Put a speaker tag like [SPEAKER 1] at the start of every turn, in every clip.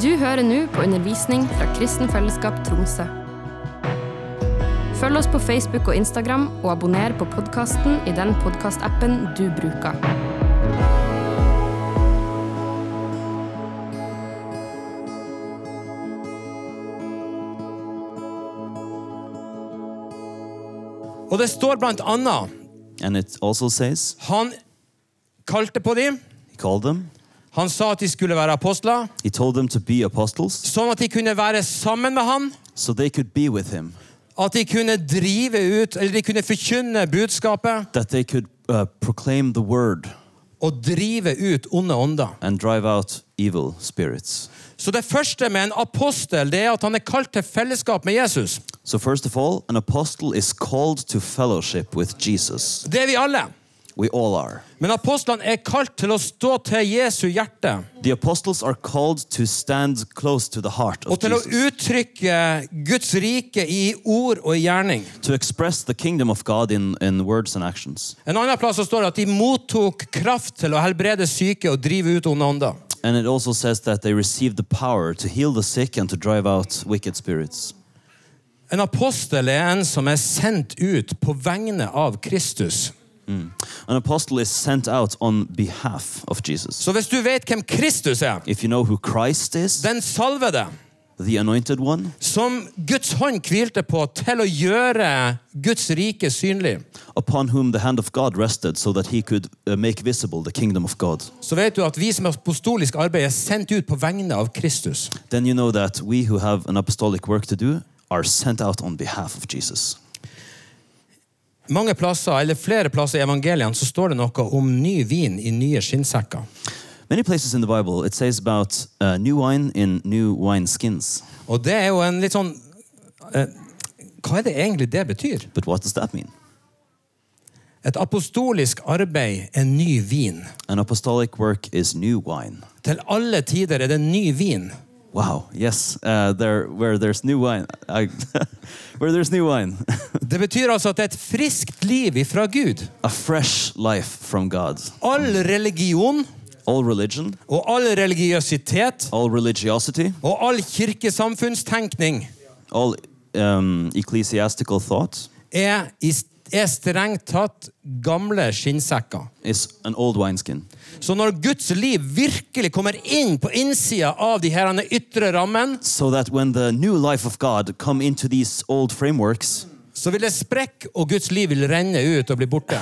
[SPEAKER 1] Du hører nå på undervisning fra Kristen Fellesskap Tromsø. Følg oss på Facebook og Instagram, og abonner på podkasten i den podkastappen du bruker.
[SPEAKER 2] Og det står blant annet
[SPEAKER 3] And it also says,
[SPEAKER 2] Han kalte på dem.
[SPEAKER 3] He called them,
[SPEAKER 2] Han sa at de skulle være apostler,
[SPEAKER 3] He told them to be apostles,
[SPEAKER 2] sånn at de kunne være sammen med han.
[SPEAKER 3] so they could be with Him,
[SPEAKER 2] At de kunne drive ut, eller de kunne forkynne budskapet
[SPEAKER 3] that they could uh, proclaim the word
[SPEAKER 2] og drive ut onde ånder.
[SPEAKER 3] and drive out evil spirits.
[SPEAKER 2] Så det første med en apostel det er at han er kalt til fellesskap med Jesus.
[SPEAKER 3] So, first of all, an apostle is called to fellowship with Jesus.
[SPEAKER 2] Det er vi alle.
[SPEAKER 3] We all are.
[SPEAKER 2] Men apostlene er kalt til å stå til Jesu hjerte
[SPEAKER 3] The apostles are called to stand close to the heart
[SPEAKER 2] og
[SPEAKER 3] of
[SPEAKER 2] til å
[SPEAKER 3] Jesus,
[SPEAKER 2] uttrykke Guds rike i ord og i gjerning.
[SPEAKER 3] to express the kingdom of God in, in words and actions.
[SPEAKER 2] En annen plass så står det at de mottok kraft til å helbrede syke og drive ut onde ånder.
[SPEAKER 3] And it also says that they received the power to heal the sick and to drive out wicked spirits.
[SPEAKER 2] En apostel er en som er sendt ut på vegne av Kristus.
[SPEAKER 3] An apostle is sent out on behalf of Jesus.
[SPEAKER 2] Så hvis du vet hvem Kristus er,
[SPEAKER 3] If you know who Christ is,
[SPEAKER 2] den salvede,
[SPEAKER 3] the anointed one,
[SPEAKER 2] som Guds hånd hvilte på til å gjøre Guds rike synlig,
[SPEAKER 3] upon whom the hand of God rested so that he could uh, make visible the kingdom of God,
[SPEAKER 2] så vet du at vi som har apostolisk arbeid, er sendt ut på vegne av Kristus.
[SPEAKER 3] then you know that we who have an apostolic work to do are sent out on behalf of Jesus.
[SPEAKER 2] Mange plasser, eller Flere plasser i evangeliene så står det noe om ny vin i nye skinnsekker.
[SPEAKER 3] Many places in the Bible it says about uh, new wine in new wine skins.
[SPEAKER 2] Og det er jo en litt sånn eh, Hva er det egentlig det betyr?
[SPEAKER 3] But what does that mean?
[SPEAKER 2] Et apostolisk arbeid er ny vin.
[SPEAKER 3] An apostolic work is new wine.
[SPEAKER 2] Til alle tider er det ny vin.
[SPEAKER 3] Wow. Yes. Uh, there, where there's new wine, I, where there's new wine,
[SPEAKER 2] Det betyr altså at det er et friskt liv ifra Gud.
[SPEAKER 3] a fresh life from God.
[SPEAKER 2] All religion
[SPEAKER 3] All religion,
[SPEAKER 2] og all religiøsitet
[SPEAKER 3] all religiosity,
[SPEAKER 2] og all kirkesamfunnstenkning
[SPEAKER 3] all um, ecclesiastical thought
[SPEAKER 2] er, i, er strengt tatt gamle skinnsekker.
[SPEAKER 3] is an old wineskin.
[SPEAKER 2] Så når Guds liv virkelig kommer inn på innsida av de her denne ytre rammen,
[SPEAKER 3] So that when the new life of God come into these old frameworks,
[SPEAKER 2] så vil det sprekke, og Guds liv vil renne ut og bli borte.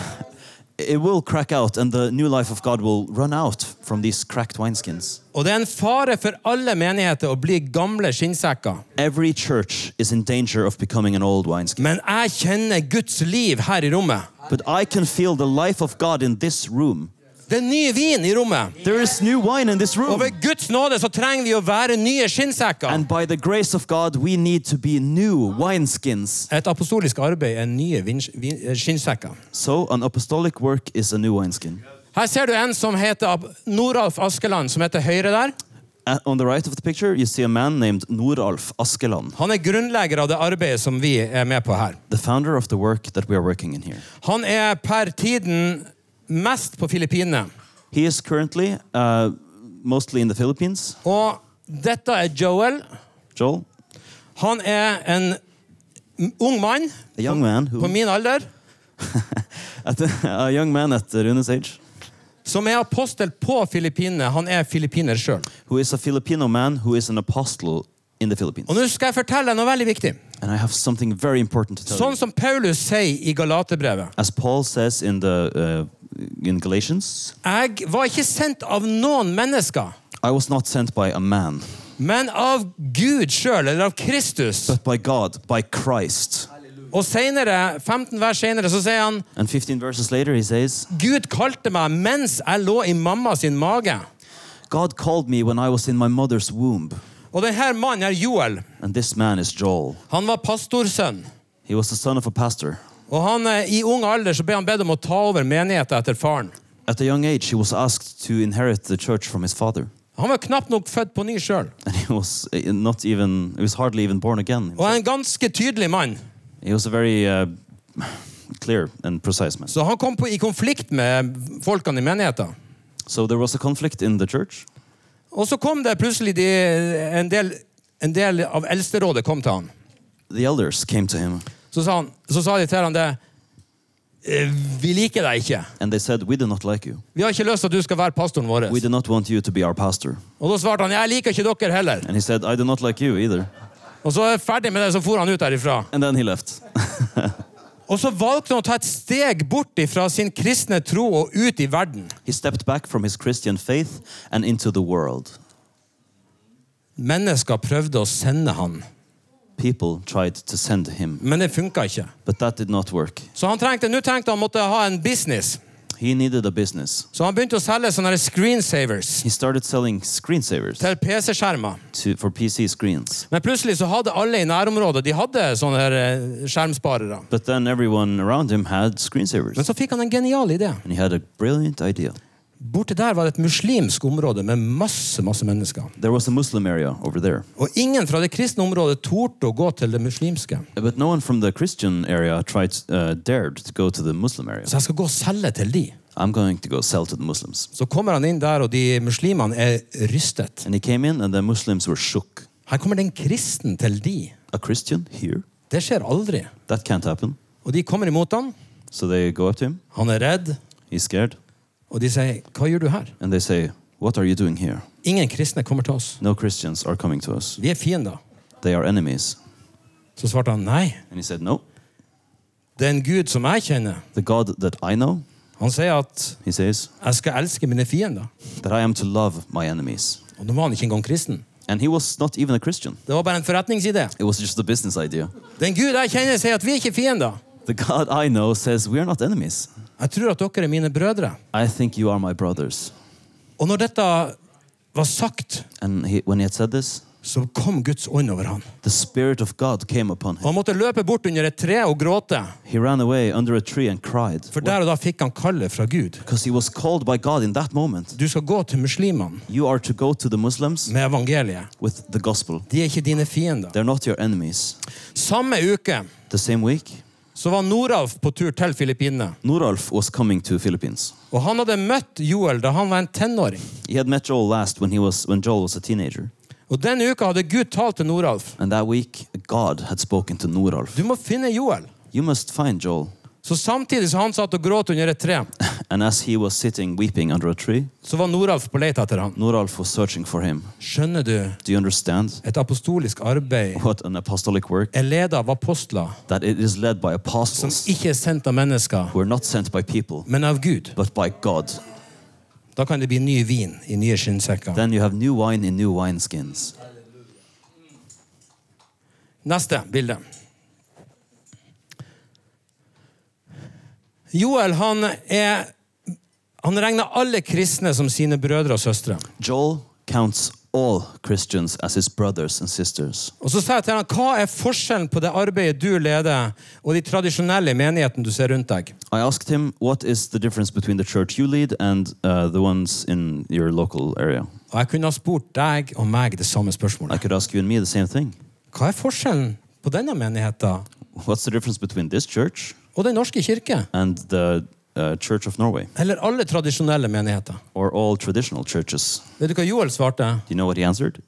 [SPEAKER 3] it will crack out, and the new life of God will run out from these cracked wineskins.
[SPEAKER 2] Og det er en fare for alle menigheter å bli gamle skinnsekker.
[SPEAKER 3] Every church is in danger of becoming an old wineskin.
[SPEAKER 2] Men jeg kjenner Guds liv her i rommet.
[SPEAKER 3] But I can feel the life of God in this room.
[SPEAKER 2] Det er ny vin i rommet.
[SPEAKER 3] There is new wine in this
[SPEAKER 2] Og
[SPEAKER 3] room.
[SPEAKER 2] ved Guds nåde så trenger vi å være nye skinnsekker.
[SPEAKER 3] And by the grace of God, we need to be new wineskins.
[SPEAKER 2] Et apostolisk arbeid er nye vins- vin- eh, skinnsekker.
[SPEAKER 3] So, an apostolic work is a new wineskin.
[SPEAKER 2] Her ser du en som heter Ab- Noralf Askeland, som heter Høyre der.
[SPEAKER 3] Uh, on the right of the picture, you see a man named Noralf Askeland,
[SPEAKER 2] Han er grunnlegger av det arbeidet som vi er med på her.
[SPEAKER 3] the founder of the work that we are working in here.
[SPEAKER 2] Han er per tiden mest på Filippinene.
[SPEAKER 3] He is currently uh, mostly in the Philippines.
[SPEAKER 2] Og dette er Joel.
[SPEAKER 3] Joel,
[SPEAKER 2] Han er en m- ung mann
[SPEAKER 3] a young man
[SPEAKER 2] på
[SPEAKER 3] who,
[SPEAKER 2] min alder
[SPEAKER 3] at, a young man at Rune's age,
[SPEAKER 2] som er apostel på Filippinene. Han er filippiner sjøl.
[SPEAKER 3] who is a Filipino man who is an apostle in the Philippines.
[SPEAKER 2] Og nå skal jeg fortelle deg noe veldig viktig.
[SPEAKER 3] And I have something very important to tell
[SPEAKER 2] Sånn
[SPEAKER 3] you.
[SPEAKER 2] som Paulus sier i Galaterbrevet.
[SPEAKER 3] As Paul says in the uh, in Galatians,
[SPEAKER 2] Jeg var ikke sendt av noen mennesker,
[SPEAKER 3] I was not sent by a man,
[SPEAKER 2] men av Gud sjøl, eller av Kristus.
[SPEAKER 3] but by God, by Christ.
[SPEAKER 2] Og senere, 15 vers senere så sier han
[SPEAKER 3] And 15 verses later, he says,
[SPEAKER 2] Gud kalte meg mens jeg lå i mamma sin mage.
[SPEAKER 3] God called me when I was in my mother's womb.
[SPEAKER 2] Og denne mannen her, Joel,
[SPEAKER 3] And this man is Joel.
[SPEAKER 2] han var pastorsønn.
[SPEAKER 3] He was the son of a pastor.
[SPEAKER 2] Og han, eh, I ung alder så ble han bedt om å ta over menigheten etter faren.
[SPEAKER 3] At a young age, he was asked to inherit the church from his father.
[SPEAKER 2] Han var knapt nok født på ny sjøl.
[SPEAKER 3] And he was eh, not even, he was hardly even born again.
[SPEAKER 2] Og en ganske tydelig mann.
[SPEAKER 3] He was a very uh, clear and precise man.
[SPEAKER 2] Så han kom på, i konflikt med folkene i menigheten.
[SPEAKER 3] So there was a conflict in the church.
[SPEAKER 2] Og så kom det plutselig de, en, del, en del av eldsterådet kom til han.
[SPEAKER 3] The elders came to him
[SPEAKER 2] Så sa, han, så sa de til han det «Eh, Vi liker deg ikke.
[SPEAKER 3] and they said, We do not like you.
[SPEAKER 2] Vi har ikke lyst til at du skal være pastoren vår.
[SPEAKER 3] We do not want you to be our pastor.
[SPEAKER 2] Og da svarte han jeg liker ikke dere heller.
[SPEAKER 3] And he said, I do not like you either.
[SPEAKER 2] Og så ferdig med det, så for han ut derifra.
[SPEAKER 3] And then he left.
[SPEAKER 2] Og så valgte han å ta et steg bort fra sin kristne tro og ut i verden.
[SPEAKER 3] He stepped back from his Christian faith and into the world.
[SPEAKER 2] Mennesker prøvde å sende han,
[SPEAKER 3] People tried to send him,
[SPEAKER 2] men det funka ikke.
[SPEAKER 3] but that did not work.
[SPEAKER 2] Så han trengte, nå trengte han måtte ha en business.
[SPEAKER 3] He needed a business.
[SPEAKER 2] Så han begynte å selge sånne her screensavers
[SPEAKER 3] He started selling screensavers
[SPEAKER 2] til PC-skjermer.
[SPEAKER 3] to, for PC screens.
[SPEAKER 2] Men plutselig så hadde alle i nærområdet de hadde sånne her eh, skjermsparere.
[SPEAKER 3] But then everyone around him had screensavers.
[SPEAKER 2] Men så fikk han en genial idé.
[SPEAKER 3] And he had a brilliant idea.
[SPEAKER 2] Borte der var det et muslimsk område med masse masse mennesker.
[SPEAKER 3] There was a Muslim area over there,
[SPEAKER 2] Og ingen fra det kristne området torde å gå til det muslimske.
[SPEAKER 3] but no one from the Christian area tried, uh, dared to go to the Muslim area.
[SPEAKER 2] Så jeg skal gå og selge til de.
[SPEAKER 3] I'm going to go sell to the Muslims.
[SPEAKER 2] Så kommer han inn der, og de muslimene er rystet.
[SPEAKER 3] And he came in, and the Muslims were shook.
[SPEAKER 2] Her kommer det en kristen til de.
[SPEAKER 3] A Christian here?
[SPEAKER 2] Det skjer aldri.
[SPEAKER 3] That can't happen.
[SPEAKER 2] Og de kommer imot han.
[SPEAKER 3] So they go up to him.
[SPEAKER 2] Han er redd,
[SPEAKER 3] He's scared,
[SPEAKER 2] og de sier, 'Hva gjør du her?'
[SPEAKER 3] and they say, "What are you doing here?
[SPEAKER 2] Ingen kristne kommer til oss.
[SPEAKER 3] No Christians are coming to us.
[SPEAKER 2] Vi er fiender.
[SPEAKER 3] They are enemies."
[SPEAKER 2] Så svarte han, 'Nei,
[SPEAKER 3] And he said, "No,
[SPEAKER 2] det er en gud som jeg kjenner.'
[SPEAKER 3] the God that I know,
[SPEAKER 2] Han sier at
[SPEAKER 3] he says,
[SPEAKER 2] 'jeg skal elske mine fiender'.
[SPEAKER 3] that I am to love my enemies."
[SPEAKER 2] Og da var han ikke engang kristen.
[SPEAKER 3] And he was not even a Christian.
[SPEAKER 2] Det var bare en forretningsidé.
[SPEAKER 3] It was just a business idea.
[SPEAKER 2] Den Gud jeg kjenner, sier at vi er ikke fiender.
[SPEAKER 3] The God I know says, "We are not enemies.
[SPEAKER 2] Jeg tror at dere er mine brødre.
[SPEAKER 3] I think you are my brothers."
[SPEAKER 2] Og når dette var sagt,
[SPEAKER 3] And he, when he had said this,
[SPEAKER 2] så kom Guds ånd over han.
[SPEAKER 3] the Spirit of God came upon
[SPEAKER 2] Og
[SPEAKER 3] him.
[SPEAKER 2] han måtte løpe bort under et tre og gråte,
[SPEAKER 3] He ran away under a tree and cried
[SPEAKER 2] for der og da fikk han kallet fra Gud.
[SPEAKER 3] because he was called by God in that moment.
[SPEAKER 2] Du skal gå til muslimene
[SPEAKER 3] You are to go to the Muslims
[SPEAKER 2] med evangeliet.
[SPEAKER 3] with the gospel.
[SPEAKER 2] De er ikke dine fiender.
[SPEAKER 3] They're not your enemies.
[SPEAKER 2] Samme uke
[SPEAKER 3] The same week,
[SPEAKER 2] så var Noralf på tur til Filippinene.
[SPEAKER 3] Nuralf was coming to Philippines.
[SPEAKER 2] Og han hadde møtt Joel da han var en tenåring.
[SPEAKER 3] He had met Joel last when he was when Joel was a teenager,
[SPEAKER 2] Og den uka hadde Gud talt til Noralf.
[SPEAKER 3] and that week God had spoken to Nuralf.
[SPEAKER 2] Du må finne Joel.
[SPEAKER 3] You must find Joel.
[SPEAKER 2] Så samtidig som han satt og gråt under et tre,
[SPEAKER 3] And as he was sitting weeping under a tree,
[SPEAKER 2] så var Noralf på leit etter han.
[SPEAKER 3] Nuralf was searching for him.
[SPEAKER 2] Skjønner du?
[SPEAKER 3] Do you understand
[SPEAKER 2] Et apostolisk arbeid
[SPEAKER 3] what an apostolic work
[SPEAKER 2] er ledet av apostler
[SPEAKER 3] that it is led by
[SPEAKER 2] som
[SPEAKER 3] apostles
[SPEAKER 2] ikke er sendt av mennesker,
[SPEAKER 3] who are not sent by people
[SPEAKER 2] men av Gud.
[SPEAKER 3] but by God?
[SPEAKER 2] Da kan det bli ny vin i nye skinnsekker.
[SPEAKER 3] Then you have new wine in new wineskins.
[SPEAKER 2] Neste bilde. Joel han er han regner alle kristne som sine brødre og søstre.
[SPEAKER 3] Joel counts all Christians as his brothers and sisters.
[SPEAKER 2] Og så sa jeg til han, Hva er forskjellen på det arbeidet du leder, og de tradisjonelle menighetene du ser rundt deg?
[SPEAKER 3] I asked him, What is the difference between the church you lead and uh, the ones in your local area?
[SPEAKER 2] Og Jeg kunne ha spurt deg og meg det samme
[SPEAKER 3] I
[SPEAKER 2] spørsmålet.
[SPEAKER 3] could ask you and me the same thing.
[SPEAKER 2] Hva er forskjellen på denne menigheten
[SPEAKER 3] What's the difference between this church
[SPEAKER 2] og Den norske kirke?
[SPEAKER 3] and the uh, Church of Norway
[SPEAKER 2] Eller alle tradisjonelle menigheter?
[SPEAKER 3] or all traditional churches?
[SPEAKER 2] Vet du hva Joel svarte?
[SPEAKER 3] Do you know what he answered?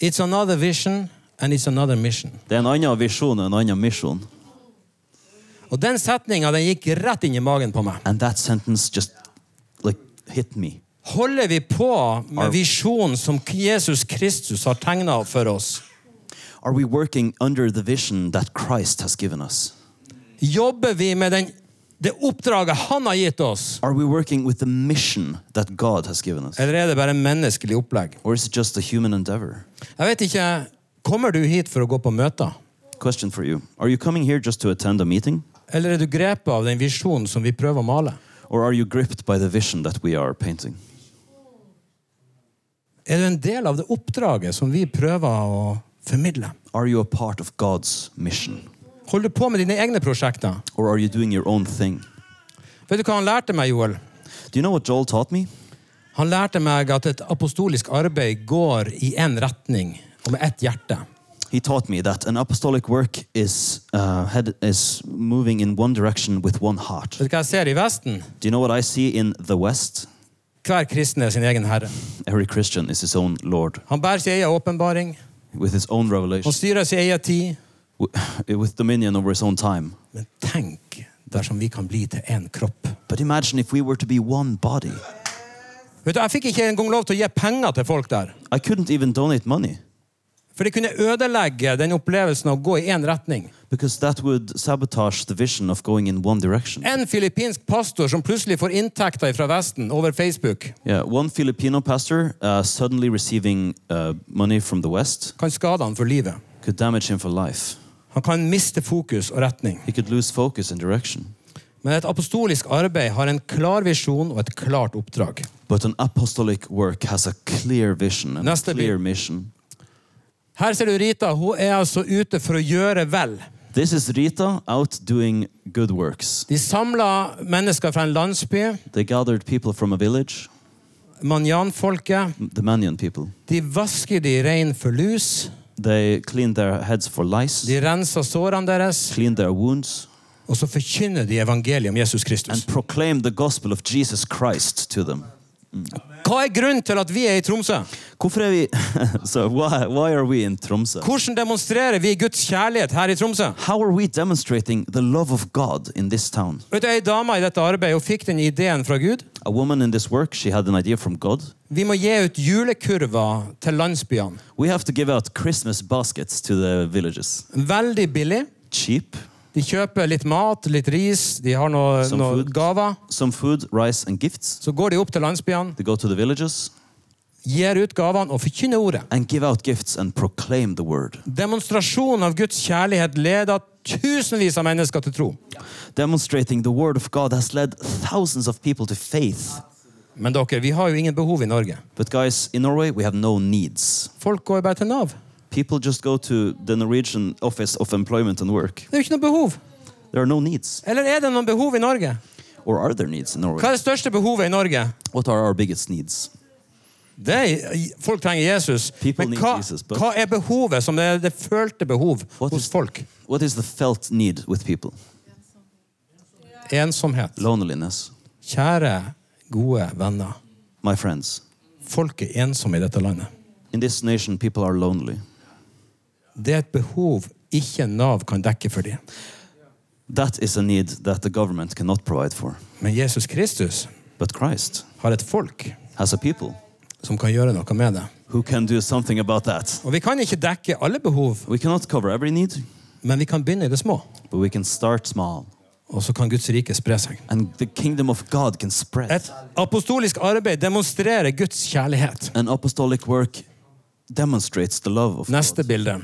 [SPEAKER 2] It's another vision and it's another mission.
[SPEAKER 3] Det er en annen visjon og en annen misjon.
[SPEAKER 2] Og den setninga den gikk rett inn i magen på meg.
[SPEAKER 3] And that sentence just like hit me.
[SPEAKER 2] Holder vi på med
[SPEAKER 3] Ar-
[SPEAKER 2] visjonen som Jesus Kristus har tegna for oss?
[SPEAKER 3] Are we working under the vision that Christ has given us?
[SPEAKER 2] Jobber vi med den, det oppdraget han har gitt oss?
[SPEAKER 3] Are we working with the mission that God has given us?
[SPEAKER 2] Eller er det bare menneskelig opplegg?
[SPEAKER 3] Or is it just a human endeavor?
[SPEAKER 2] Jeg vet ikke. Kommer du hit for å gå på møter?
[SPEAKER 3] Question for you Are you coming here just to attend a meeting?
[SPEAKER 2] Eller er du grepet av den visjonen som vi prøver å male?
[SPEAKER 3] Or are you gripped by the vision that we are painting?
[SPEAKER 2] Er du en del av det oppdraget som vi prøver å formidle?
[SPEAKER 3] Are you a part of God's mission?
[SPEAKER 2] Holder du på med dine egne prosjekter?
[SPEAKER 3] Or are you doing your own thing?
[SPEAKER 2] Vet du hva han lærte meg, Joel?
[SPEAKER 3] Do you know what Joel taught me?
[SPEAKER 2] Han lærte meg at et apostolisk arbeid går i én retning og med ett hjerte.
[SPEAKER 3] He taught me that an apostolic work is, uh, head, is moving in one direction with one heart.
[SPEAKER 2] Vet du hva jeg ser i Vesten?
[SPEAKER 3] Do you know what I see in the West?
[SPEAKER 2] Hver kristen er sin egen herre.
[SPEAKER 3] Every Christian is his own Lord
[SPEAKER 2] Han bærer sin egen åpenbaring.
[SPEAKER 3] with his own revelation,
[SPEAKER 2] Han styrer sin egen tid.
[SPEAKER 3] wi- with dominion over his own time.
[SPEAKER 2] Men tenk dersom vi kan bli til én kropp.
[SPEAKER 3] But imagine if we were to be one body.
[SPEAKER 2] Vet du, Jeg fikk ikke engang lov til å gi penger til folk der.
[SPEAKER 3] I couldn't even donate money
[SPEAKER 2] For det kunne ødelegge den opplevelsen av å gå i én retning.
[SPEAKER 3] because that would sabotage the vision of going in one direction.
[SPEAKER 2] En filippinsk pastor som plutselig får inntekter fra Vesten over Facebook,
[SPEAKER 3] Yeah, one Filipino pastor uh, suddenly receiving uh, money from the West
[SPEAKER 2] kan skade han for livet.
[SPEAKER 3] could damage him for life.
[SPEAKER 2] Han kan miste fokus og retning.
[SPEAKER 3] He could lose focus and direction.
[SPEAKER 2] Men et apostolisk arbeid har en klar visjon og et klart oppdrag.
[SPEAKER 3] But an apostolic work has a clear vision and a
[SPEAKER 2] Nästa bild.
[SPEAKER 3] clear mission.
[SPEAKER 2] Her ser du Rita. Hun er altså ute for å gjøre vel.
[SPEAKER 3] This is Rita out doing good works.
[SPEAKER 2] De samla mennesker fra en landsby,
[SPEAKER 3] They gathered people from a village,
[SPEAKER 2] manjanfolket.
[SPEAKER 3] the Mannion people.
[SPEAKER 2] De vasker de rein for lus.
[SPEAKER 3] They cleaned their heads for lice,
[SPEAKER 2] De renser sårene deres.
[SPEAKER 3] cleaned their wounds,
[SPEAKER 2] Og så forkynner de evangeliet om Jesus Kristus.
[SPEAKER 3] and proclaimed the gospel of Jesus Christ to them.
[SPEAKER 2] Hva er grunnen til at vi er i Tromsø?
[SPEAKER 3] Hvorfor er vi So why, why are we in Tromsø?
[SPEAKER 2] Hvordan demonstrerer vi Guds kjærlighet her i Tromsø?
[SPEAKER 3] How are we demonstrating the love of God in this town?
[SPEAKER 2] Vet du, Ei dame i dette arbeidet hun fikk den ideen fra Gud.
[SPEAKER 3] A woman in this work, she had an idea from God.
[SPEAKER 2] Vi må gi ut julekurver til landsbyene.
[SPEAKER 3] We have to give out Christmas baskets to the villages.
[SPEAKER 2] Veldig billig.
[SPEAKER 3] Cheap,
[SPEAKER 2] De kjøper litt mat, litt ris, de har noe,
[SPEAKER 3] Some
[SPEAKER 2] noe
[SPEAKER 3] food.
[SPEAKER 2] gaver.
[SPEAKER 3] some food, rice, and gifts.
[SPEAKER 2] Så går de opp til landsbyene,
[SPEAKER 3] They go to the villages
[SPEAKER 2] gir ut gavene og forkynner ordet.
[SPEAKER 3] and give out gifts and proclaim the word.
[SPEAKER 2] Demonstrasjonen av Guds kjærlighet leder tusenvis av mennesker til tro.
[SPEAKER 3] Demonstrating the word of God has led thousands of people to faith.
[SPEAKER 2] Men dere, vi har jo ingen behov i Norge.
[SPEAKER 3] But guys, in Norway, we have no needs.
[SPEAKER 2] Folk går jo bare til Nav.
[SPEAKER 3] People just go to the Norwegian Office of Employment and Work.
[SPEAKER 2] Det er jo ikke noe behov.
[SPEAKER 3] There are no needs.
[SPEAKER 2] Eller er det noen behov i Norge?
[SPEAKER 3] Or are there needs in
[SPEAKER 2] Hva
[SPEAKER 3] Norway?
[SPEAKER 2] er det største behovet i Norge?
[SPEAKER 3] What are our biggest needs?
[SPEAKER 2] Det er, folk trenger Jesus.
[SPEAKER 3] People
[SPEAKER 2] Men
[SPEAKER 3] need
[SPEAKER 2] hva,
[SPEAKER 3] Jesus, but-
[SPEAKER 2] hva er behovet som er det følte behov
[SPEAKER 3] What
[SPEAKER 2] hos
[SPEAKER 3] is-
[SPEAKER 2] folk?
[SPEAKER 3] What is the felt need with people?
[SPEAKER 2] Ensomhet.
[SPEAKER 3] Loneliness.
[SPEAKER 2] Kjære, gode venner.
[SPEAKER 3] My friends,
[SPEAKER 2] Folk er ensomme i dette landet.
[SPEAKER 3] in this nation, people are lonely.
[SPEAKER 2] Det er et behov ikke Nav kan dekke for dem.
[SPEAKER 3] That is a need that the government cannot provide for.
[SPEAKER 2] Men Jesus Kristus
[SPEAKER 3] But Christ
[SPEAKER 2] har et folk
[SPEAKER 3] has a people
[SPEAKER 2] som kan gjøre noe med det.
[SPEAKER 3] who can do something about that.
[SPEAKER 2] Og Vi kan ikke dekke alle behov,
[SPEAKER 3] We cannot cover every need,
[SPEAKER 2] men vi kan begynne i det små.
[SPEAKER 3] but we can start small.
[SPEAKER 2] Og så kan Guds rike spre seg.
[SPEAKER 3] And the kingdom of God can spread.
[SPEAKER 2] Et apostolisk arbeid demonstrerer Guds kjærlighet.
[SPEAKER 3] An apostolic work demonstrates the love of
[SPEAKER 2] Neste
[SPEAKER 3] God.
[SPEAKER 2] bilde.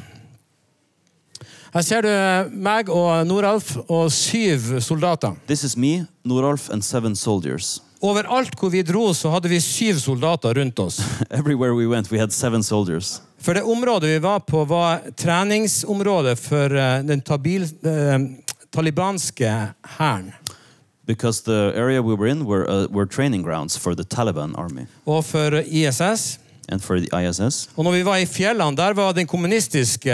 [SPEAKER 2] Her ser du meg og Noralf og syv soldater.
[SPEAKER 3] This is me, Noralf, and seven soldiers.
[SPEAKER 2] Overalt hvor vi dro, så hadde vi syv soldater rundt oss.
[SPEAKER 3] Everywhere we went, we had seven soldiers.
[SPEAKER 2] For det området vi var på, var treningsområdet for eh, den tabil, eh, talibanske hæren.
[SPEAKER 3] Because the area we were in were, uh, were training grounds for the Taliban army
[SPEAKER 2] Og for ISS.
[SPEAKER 3] and for the ISS.
[SPEAKER 2] Og når vi var i fjellene, der var den kommunistiske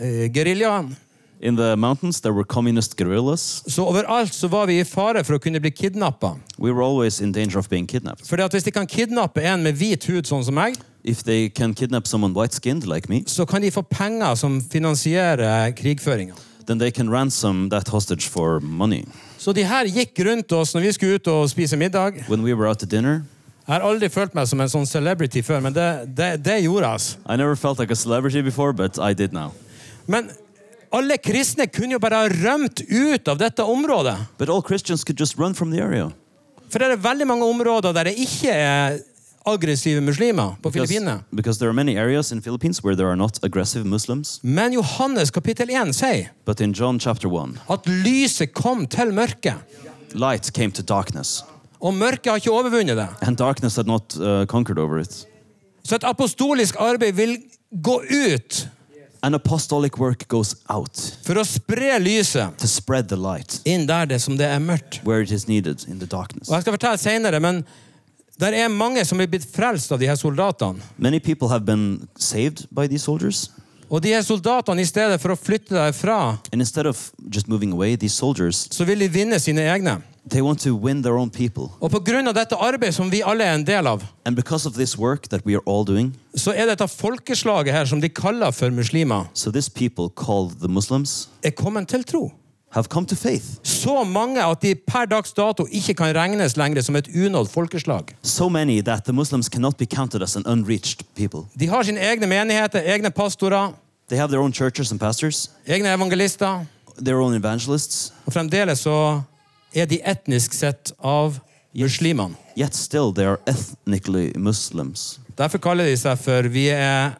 [SPEAKER 2] eh, geriljaen.
[SPEAKER 3] In the mountains, there were communist guerrillas.
[SPEAKER 2] Så overalt så var vi i fare for å kunne bli kidnappa.
[SPEAKER 3] We were always in danger of being kidnapped.
[SPEAKER 2] For hvis de kan kidnappe en med hvit hud, sånn som meg,
[SPEAKER 3] If they can kidnap someone white skinned like me,
[SPEAKER 2] så kan de få penger som finansierer krigføringa.
[SPEAKER 3] then they can ransom that hostage for money.
[SPEAKER 2] Så de her gikk rundt oss når vi skulle ut og spise middag.
[SPEAKER 3] When we were out to dinner,
[SPEAKER 2] Jeg har aldri følt meg som en sånn celebrity før, men det, det, det gjorde jeg. altså.
[SPEAKER 3] I never felt like a celebrity before, but I did now.
[SPEAKER 2] Men alle kristne kunne jo bare ha rømt ut av dette området.
[SPEAKER 3] But all Christians could just run from the area.
[SPEAKER 2] For det er veldig mange områder der det ikke er aggressive muslimer på Filippinene.
[SPEAKER 3] because there are many areas in Philippines where there are not aggressive Muslims.
[SPEAKER 2] Men Johannes kapittel 1 sier
[SPEAKER 3] But in John chapter 1,
[SPEAKER 2] at lyset kom til mørket,
[SPEAKER 3] light came to darkness,
[SPEAKER 2] og mørket har ikke overvunnet det.
[SPEAKER 3] and darkness had not uh, conquered over it.
[SPEAKER 2] Så et apostolisk arbeid vil gå ut
[SPEAKER 3] An apostolic work goes out
[SPEAKER 2] for å spre lyset
[SPEAKER 3] to spread the light
[SPEAKER 2] inn der det som det er mørkt.
[SPEAKER 3] where it is needed in the darkness.
[SPEAKER 2] Og Jeg skal fortelle senere, men der er mange som er blitt frelst av de her soldatene.
[SPEAKER 3] Many people have been saved by these soldiers,
[SPEAKER 2] Og de her soldatene, i stedet for å flytte derfra,
[SPEAKER 3] and instead of just moving away, these soldiers
[SPEAKER 2] så vil de vinne sine egne.
[SPEAKER 3] They want to win their own people.
[SPEAKER 2] Og pga. dette arbeidet som vi alle er en del av,
[SPEAKER 3] And because of this work that we are all doing,
[SPEAKER 2] så er dette folkeslaget her som de kaller for muslimer,
[SPEAKER 3] so this people called the Muslims
[SPEAKER 2] er kommet til tro.
[SPEAKER 3] have come to faith.
[SPEAKER 2] Så mange at de per dags dato ikke kan regnes lenger som et unådd folkeslag.
[SPEAKER 3] So many that the Muslims cannot be counted as an unreached people.
[SPEAKER 2] De har sine egne menigheter, egne pastorer,
[SPEAKER 3] They have their own churches and pastors,
[SPEAKER 2] egne evangelister.
[SPEAKER 3] their own evangelists,
[SPEAKER 2] Og fremdeles så er de etnisk sett av muslimene.
[SPEAKER 3] yet still they are ethnically Muslims.
[SPEAKER 2] Derfor kaller de seg for vi er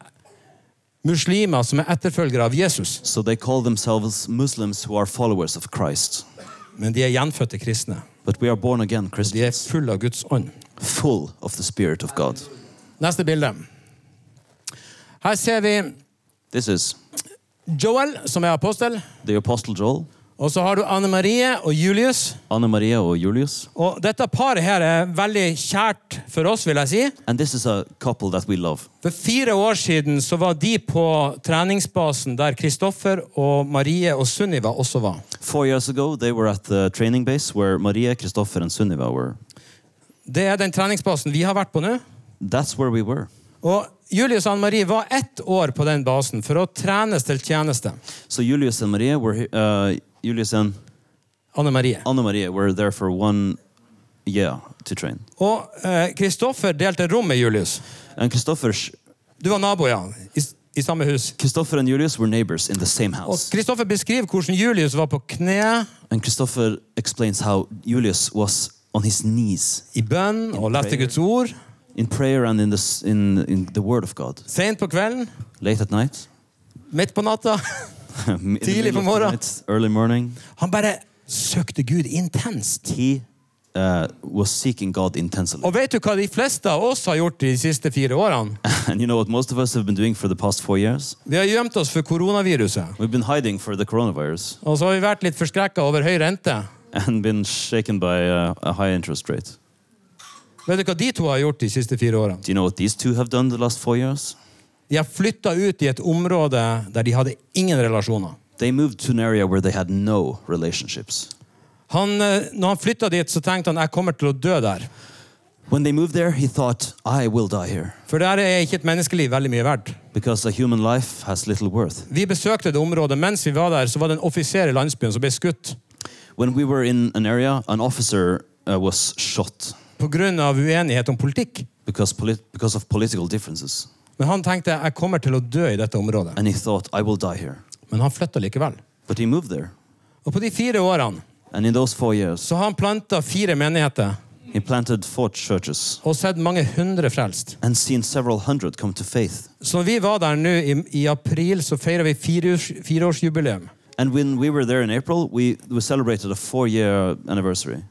[SPEAKER 2] muslimer som er etterfølgere av Jesus.
[SPEAKER 3] So they call themselves Muslims who are followers of Christ.
[SPEAKER 2] Men de er gjenfødte kristne.
[SPEAKER 3] But we are born again
[SPEAKER 2] De er
[SPEAKER 3] Christians,
[SPEAKER 2] fulle av Guds ånd.
[SPEAKER 3] full of the Spirit of God.
[SPEAKER 2] Neste bilde. Her ser vi
[SPEAKER 3] This is
[SPEAKER 2] Joel, som er apostel.
[SPEAKER 3] the Apostle Joel,
[SPEAKER 2] Og så har du Anne Marie og Julius.
[SPEAKER 3] Anna Maria or Julius,
[SPEAKER 2] Og dette paret her er veldig kjært for oss, vil jeg si.
[SPEAKER 3] and this is a couple that we love.
[SPEAKER 2] For fire år siden så var de på treningsbasen der Kristoffer og Marie og Sunniva også var.
[SPEAKER 3] Four years ago, they were at the training base where Maria, Kristoffer, and Sunniva were.
[SPEAKER 2] Det er den treningsbasen vi har vært på nå.
[SPEAKER 3] That's where we were.
[SPEAKER 2] Og Julius og Anne Marie var ett år på den basen for å trenes til tjeneste.
[SPEAKER 3] So Julius and Maria were he- uh, Julius and
[SPEAKER 2] Anne Marie.
[SPEAKER 3] Anna Maria were there for one year to train,
[SPEAKER 2] Og eh, Kristoffer delte rom med Julius.
[SPEAKER 3] and Kristoffer sh-
[SPEAKER 2] Du var nabo, ja. I, s- i samme hus.
[SPEAKER 3] Kristoffer and Julius were neighbors in the same
[SPEAKER 2] Og
[SPEAKER 3] house.
[SPEAKER 2] Kristoffer beskriver hvordan Julius var på kne
[SPEAKER 3] And Kristoffer explains how Julius was on his knees
[SPEAKER 2] i bønn og leste
[SPEAKER 3] prayer.
[SPEAKER 2] Guds ord.
[SPEAKER 3] in prayer and in the s- in in the Word of God
[SPEAKER 2] Seint på kvelden,
[SPEAKER 3] late at night,
[SPEAKER 2] midt på natta.
[SPEAKER 3] in the
[SPEAKER 2] Tidlig på
[SPEAKER 3] middle of the
[SPEAKER 2] morgenen.
[SPEAKER 3] night, early morning.
[SPEAKER 2] Han bare søkte Gud intenst.
[SPEAKER 3] He uh, was seeking God intensely.
[SPEAKER 2] Og vet du hva de fleste av oss har gjort de siste fire årene?
[SPEAKER 3] And you know what most of us have been doing for the past four years?
[SPEAKER 2] Vi har gjemt oss for koronaviruset.
[SPEAKER 3] We've been hiding for the coronavirus
[SPEAKER 2] Og så har vi vært litt forskrekka over høy rente.
[SPEAKER 3] and been shaken by uh, a high interest rate.
[SPEAKER 2] Vet du hva de to har gjort de siste fire årene?
[SPEAKER 3] Do you know what these two have done the last four years?
[SPEAKER 2] De har flytta ut i et område der de hadde ingen relasjoner.
[SPEAKER 3] They moved to an area where they had no relationships.
[SPEAKER 2] Han, eh, når han flytta dit, så tenkte han jeg kommer til å dø der.
[SPEAKER 3] When they moved there, he thought, I will die here
[SPEAKER 2] For der er ikke et menneskeliv veldig mye verdt.
[SPEAKER 3] because a human life has little worth.
[SPEAKER 2] Vi besøkte det området. Mens vi var der, så var det en offiser i landsbyen som ble skutt
[SPEAKER 3] When we were in an area, an officer uh, was shot
[SPEAKER 2] pga. uenighet om politikk.
[SPEAKER 3] because, polit- because of political differences.
[SPEAKER 2] Men han tenkte jeg kommer til å dø i dette området.
[SPEAKER 3] And he thought, I will die here.
[SPEAKER 2] Men han flytta likevel.
[SPEAKER 3] But he moved there.
[SPEAKER 2] Og på de fire årene
[SPEAKER 3] And in those four years,
[SPEAKER 2] så har han planta fire menigheter
[SPEAKER 3] he planted four churches
[SPEAKER 2] og sett mange hundre frelst.
[SPEAKER 3] and seen several hundred come to faith.
[SPEAKER 2] Så når vi var der nå i, i april, så feira vi fireårs, fireårsjubileum.
[SPEAKER 3] And when we were there in April, we, we celebrated a four year anniversary.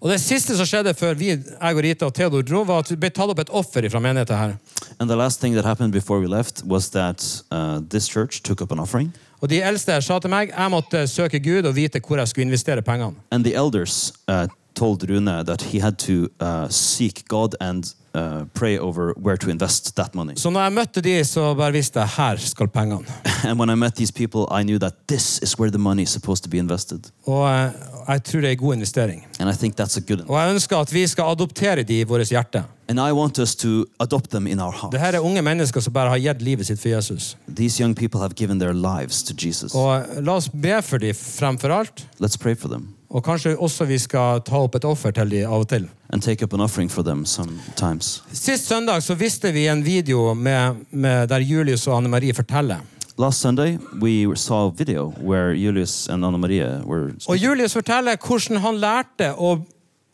[SPEAKER 2] Og det siste som skjedde før vi, jeg og Rita og Theodor dro, var at det ble tatt opp et offer fra menigheten her.
[SPEAKER 3] And the last thing that happened before we left was that uh, this church took up an offering.
[SPEAKER 2] Og de eldste her sa til meg jeg måtte søke Gud og vite hvor jeg skulle investere pengene.
[SPEAKER 3] And the elders uh, told Rune that he had to uh, seek God and uh, pray over where to invest that money.
[SPEAKER 2] Så når jeg møtte de, så bare visste jeg her skal pengene.
[SPEAKER 3] And when I met these people, I knew that this is where the money is supposed to be invested.
[SPEAKER 2] Og eh, jeg tror det er en god investering.
[SPEAKER 3] And I think that's a good
[SPEAKER 2] Og jeg ønsker at vi skal adoptere de i vårt hjerte.
[SPEAKER 3] And I want us to adopt them in our heart.
[SPEAKER 2] Dette er unge mennesker som bare har gitt livet sitt for Jesus.
[SPEAKER 3] These young people have given their lives to Jesus.
[SPEAKER 2] Og eh, la oss be for de fremfor alt.
[SPEAKER 3] Let's pray for them
[SPEAKER 2] Og kanskje også vi skal ta opp et offer til de av og til.
[SPEAKER 3] and take up an offering for them sometimes.
[SPEAKER 2] Sist søndag så viste vi en video med, med der Julius og Anne Marie forteller.
[SPEAKER 3] Last Sunday, we saw a video where Julius and Anna Maria were.
[SPEAKER 2] Og Julius forteller hvordan han lærte å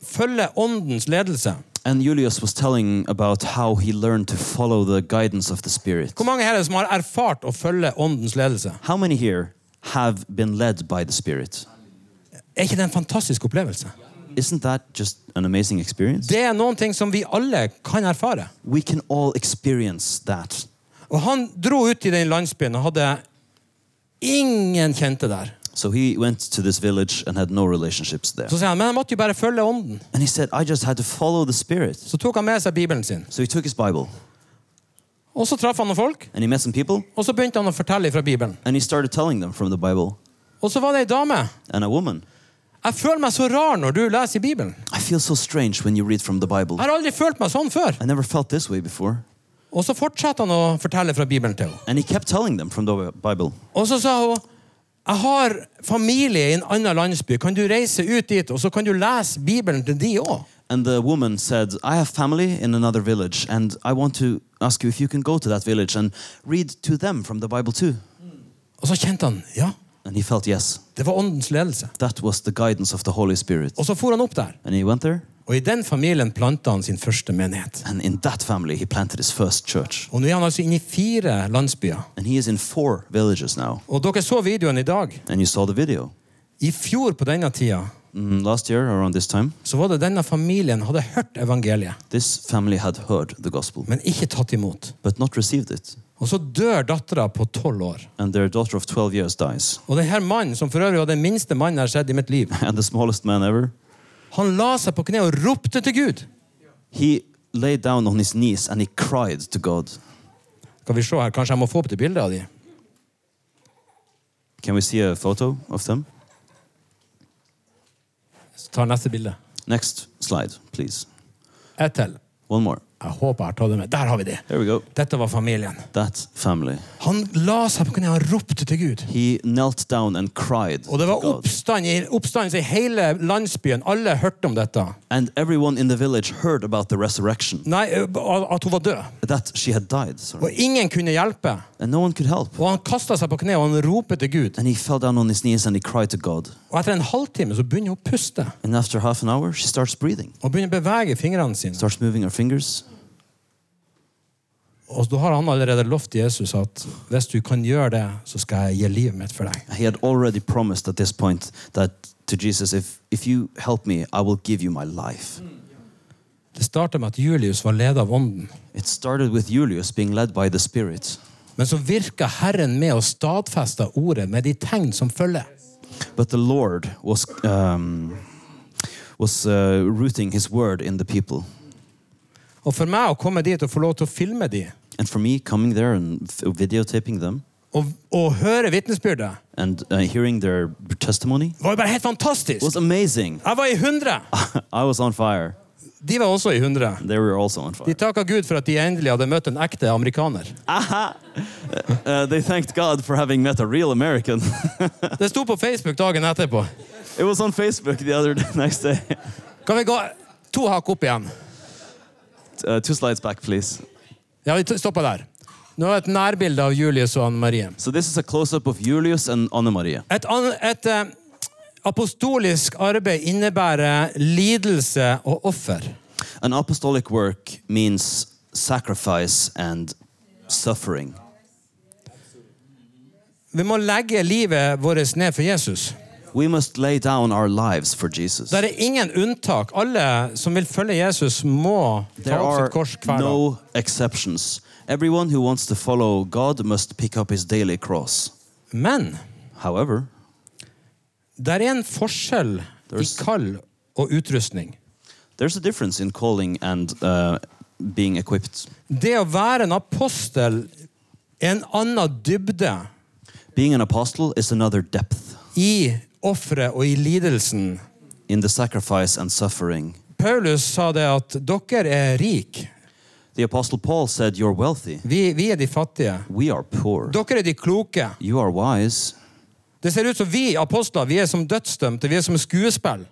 [SPEAKER 2] følge åndens ledelse.
[SPEAKER 3] And Julius was telling about how he learned to follow the guidance of the Spirit.
[SPEAKER 2] Hvor mange her er det som har erfart å følge åndens ledelse?
[SPEAKER 3] How many here have been led by the Spirit?
[SPEAKER 2] Er ikke det en fantastisk opplevelse?
[SPEAKER 3] Isn't that just an amazing experience?
[SPEAKER 2] Det er noen ting som vi alle kan erfare.
[SPEAKER 3] We can all experience that.
[SPEAKER 2] Og han dro ut i den landsbyen og hadde ingen kjente der.
[SPEAKER 3] So he went to this village and had no relationships there.
[SPEAKER 2] Så sier han, men jeg måtte jo bare følge ånden.
[SPEAKER 3] And he said, I just had to follow the Spirit.
[SPEAKER 2] Så tok han med seg Bibelen sin.
[SPEAKER 3] So he took his Bible
[SPEAKER 2] Og så traff han noen folk,
[SPEAKER 3] and he met some people
[SPEAKER 2] og så begynte han å fortelle fra Bibelen.
[SPEAKER 3] and he started telling them from the Bible.
[SPEAKER 2] Og så var det ei dame.
[SPEAKER 3] And a woman.
[SPEAKER 2] Jeg føler meg så rar når du leser i Bibelen.
[SPEAKER 3] I feel so strange when you read from the Bible.
[SPEAKER 2] Jeg har aldri følt meg sånn før.
[SPEAKER 3] I never felt this way before.
[SPEAKER 2] Og så fortsatte han å fortelle fra Bibelen til henne.
[SPEAKER 3] And he kept telling them from the Bible.
[SPEAKER 2] Og så sa hun jeg har familie i en annen landsby. Kan du reise ut dit, og så kan du lese Bibelen til de òg?
[SPEAKER 3] And the woman said, I have family in another village, and I want to ask you if you can go to that village and read to them from the Bible too.
[SPEAKER 2] Og så kjente han ja,
[SPEAKER 3] And he felt yes.
[SPEAKER 2] det var åndens ledelse.
[SPEAKER 3] That was the guidance of the Holy Spirit.
[SPEAKER 2] Og så for han opp der.
[SPEAKER 3] And he went there,
[SPEAKER 2] Og i den familien planta han sin første menighet.
[SPEAKER 3] and in that family, he planted his first church.
[SPEAKER 2] Og nå er han altså inne i fire landsbyer.
[SPEAKER 3] And he is in four villages now.
[SPEAKER 2] Og dere så videoen i dag.
[SPEAKER 3] And you saw the video.
[SPEAKER 2] I fjor på denne tida
[SPEAKER 3] Mm, Last year, around this time,
[SPEAKER 2] så var det denne familien hadde hørt evangeliet,
[SPEAKER 3] this family had heard the gospel,
[SPEAKER 2] men ikke tatt imot.
[SPEAKER 3] but not received it.
[SPEAKER 2] Og så dør dattera på tolv år.
[SPEAKER 3] And their daughter of 12 years dies.
[SPEAKER 2] Og denne mannen, som for øvrig var den minste mannen jeg har sett i mitt liv,
[SPEAKER 3] And the smallest man ever,
[SPEAKER 2] han la seg på kne og ropte til Gud.
[SPEAKER 3] he laid down on his knees and he cried to God.
[SPEAKER 2] Skal vi se her, Kanskje jeg må få opp det bildet av de.
[SPEAKER 3] Can we see a photo of them?
[SPEAKER 2] Så tar jeg neste bilde.
[SPEAKER 3] Next slide, please.
[SPEAKER 2] Ett til.
[SPEAKER 3] One more.
[SPEAKER 2] Jeg håper jeg har tatt det med. Der har vi det.
[SPEAKER 3] There we go.
[SPEAKER 2] Dette var familien.
[SPEAKER 3] That family.
[SPEAKER 2] Han la seg på kne og ropte til Gud.
[SPEAKER 3] He knelt down and cried
[SPEAKER 2] Og det var
[SPEAKER 3] to God.
[SPEAKER 2] oppstand i, oppstandelse i hele landsbyen. Alle hørte om dette.
[SPEAKER 3] And everyone in the village heard about the resurrection,
[SPEAKER 2] Nei, ø, at hun var død.
[SPEAKER 3] that she had died. Sorry.
[SPEAKER 2] Og ingen kunne hjelpe.
[SPEAKER 3] And no one could help.
[SPEAKER 2] Og han kasta seg på kne og han roper til Gud.
[SPEAKER 3] And he fell down on his knees and he cried to God.
[SPEAKER 2] Og etter en halvtime så begynner hun å puste
[SPEAKER 3] And after half an hour, she starts breathing,
[SPEAKER 2] og begynner å bevege fingrene sine.
[SPEAKER 3] starts moving her fingers.
[SPEAKER 2] Og da har han allerede lovt Jesus at hvis du kan gjøre det, så skal jeg gi livet mitt for deg.
[SPEAKER 3] He had already promised at this point that to Jesus, if, if you help me, I will give you my life.
[SPEAKER 2] Det starter med at Julius var ledet av ånden.
[SPEAKER 3] It started with Julius being led by the Spirit.
[SPEAKER 2] Men så virka Herren med å stadfeste ordet med de tegn som følger.
[SPEAKER 3] But the Lord was um, was uh, rooting His word in the people,
[SPEAKER 2] Og for meg å komme dit og få lov til å filme de,
[SPEAKER 3] and for me coming there and f- videotaping them
[SPEAKER 2] og, og høre vitnesbyrdet,
[SPEAKER 3] and uh, hearing their testimony
[SPEAKER 2] var jo bare helt fantastisk.
[SPEAKER 3] was amazing.
[SPEAKER 2] Jeg var i 100.
[SPEAKER 3] I was on fire.
[SPEAKER 2] De var også i 100.
[SPEAKER 3] They were also on
[SPEAKER 2] De
[SPEAKER 3] fire.
[SPEAKER 2] takka Gud for at de endelig hadde møtt en ekte amerikaner.
[SPEAKER 3] Uh, they thanked God for having met a real American.
[SPEAKER 2] Det sto på Facebook dagen etterpå.
[SPEAKER 3] it was on Facebook the other day, next day.
[SPEAKER 2] Kan vi gå to hakk opp igjen?
[SPEAKER 3] Uh, two slides back, please.
[SPEAKER 2] Ja, vi stopper der. Nå er det et nærbilde av Julius og Anne Marie.
[SPEAKER 3] So this is a close-up of Julius and Anna Maria.
[SPEAKER 2] Et, an- et eh, apostolisk arbeid innebærer lidelse og offer.
[SPEAKER 3] An apostolic work means sacrifice and suffering.
[SPEAKER 2] Vi må legge livet vårt ned for Jesus.
[SPEAKER 3] We must lay down our lives for Jesus.
[SPEAKER 2] Det er ingen unntak. Alle som vil følge Jesus, må ta
[SPEAKER 3] There
[SPEAKER 2] opp
[SPEAKER 3] are
[SPEAKER 2] sitt kors hver dag.
[SPEAKER 3] no exceptions. Everyone who wants to follow God must pick up his daily cross.
[SPEAKER 2] Men
[SPEAKER 3] However,
[SPEAKER 2] det er en forskjell i
[SPEAKER 3] There's-
[SPEAKER 2] kall og utrustning.
[SPEAKER 3] there's a difference in calling and uh, being equipped.
[SPEAKER 2] Det å være en apostel er en annen dybde
[SPEAKER 3] Being an apostle is another depth
[SPEAKER 2] i offeret og i lidelsen.
[SPEAKER 3] in the sacrifice and suffering.
[SPEAKER 2] Paulus sa det at dere er rike.
[SPEAKER 3] The apostle Paul said, You're wealthy,
[SPEAKER 2] Vi, vi er de fattige.
[SPEAKER 3] we are poor,
[SPEAKER 2] Dere er de kloke.
[SPEAKER 3] you are wise.
[SPEAKER 2] Det ser ut som vi apostler vi er som dødsdømte, vi er som skuespill.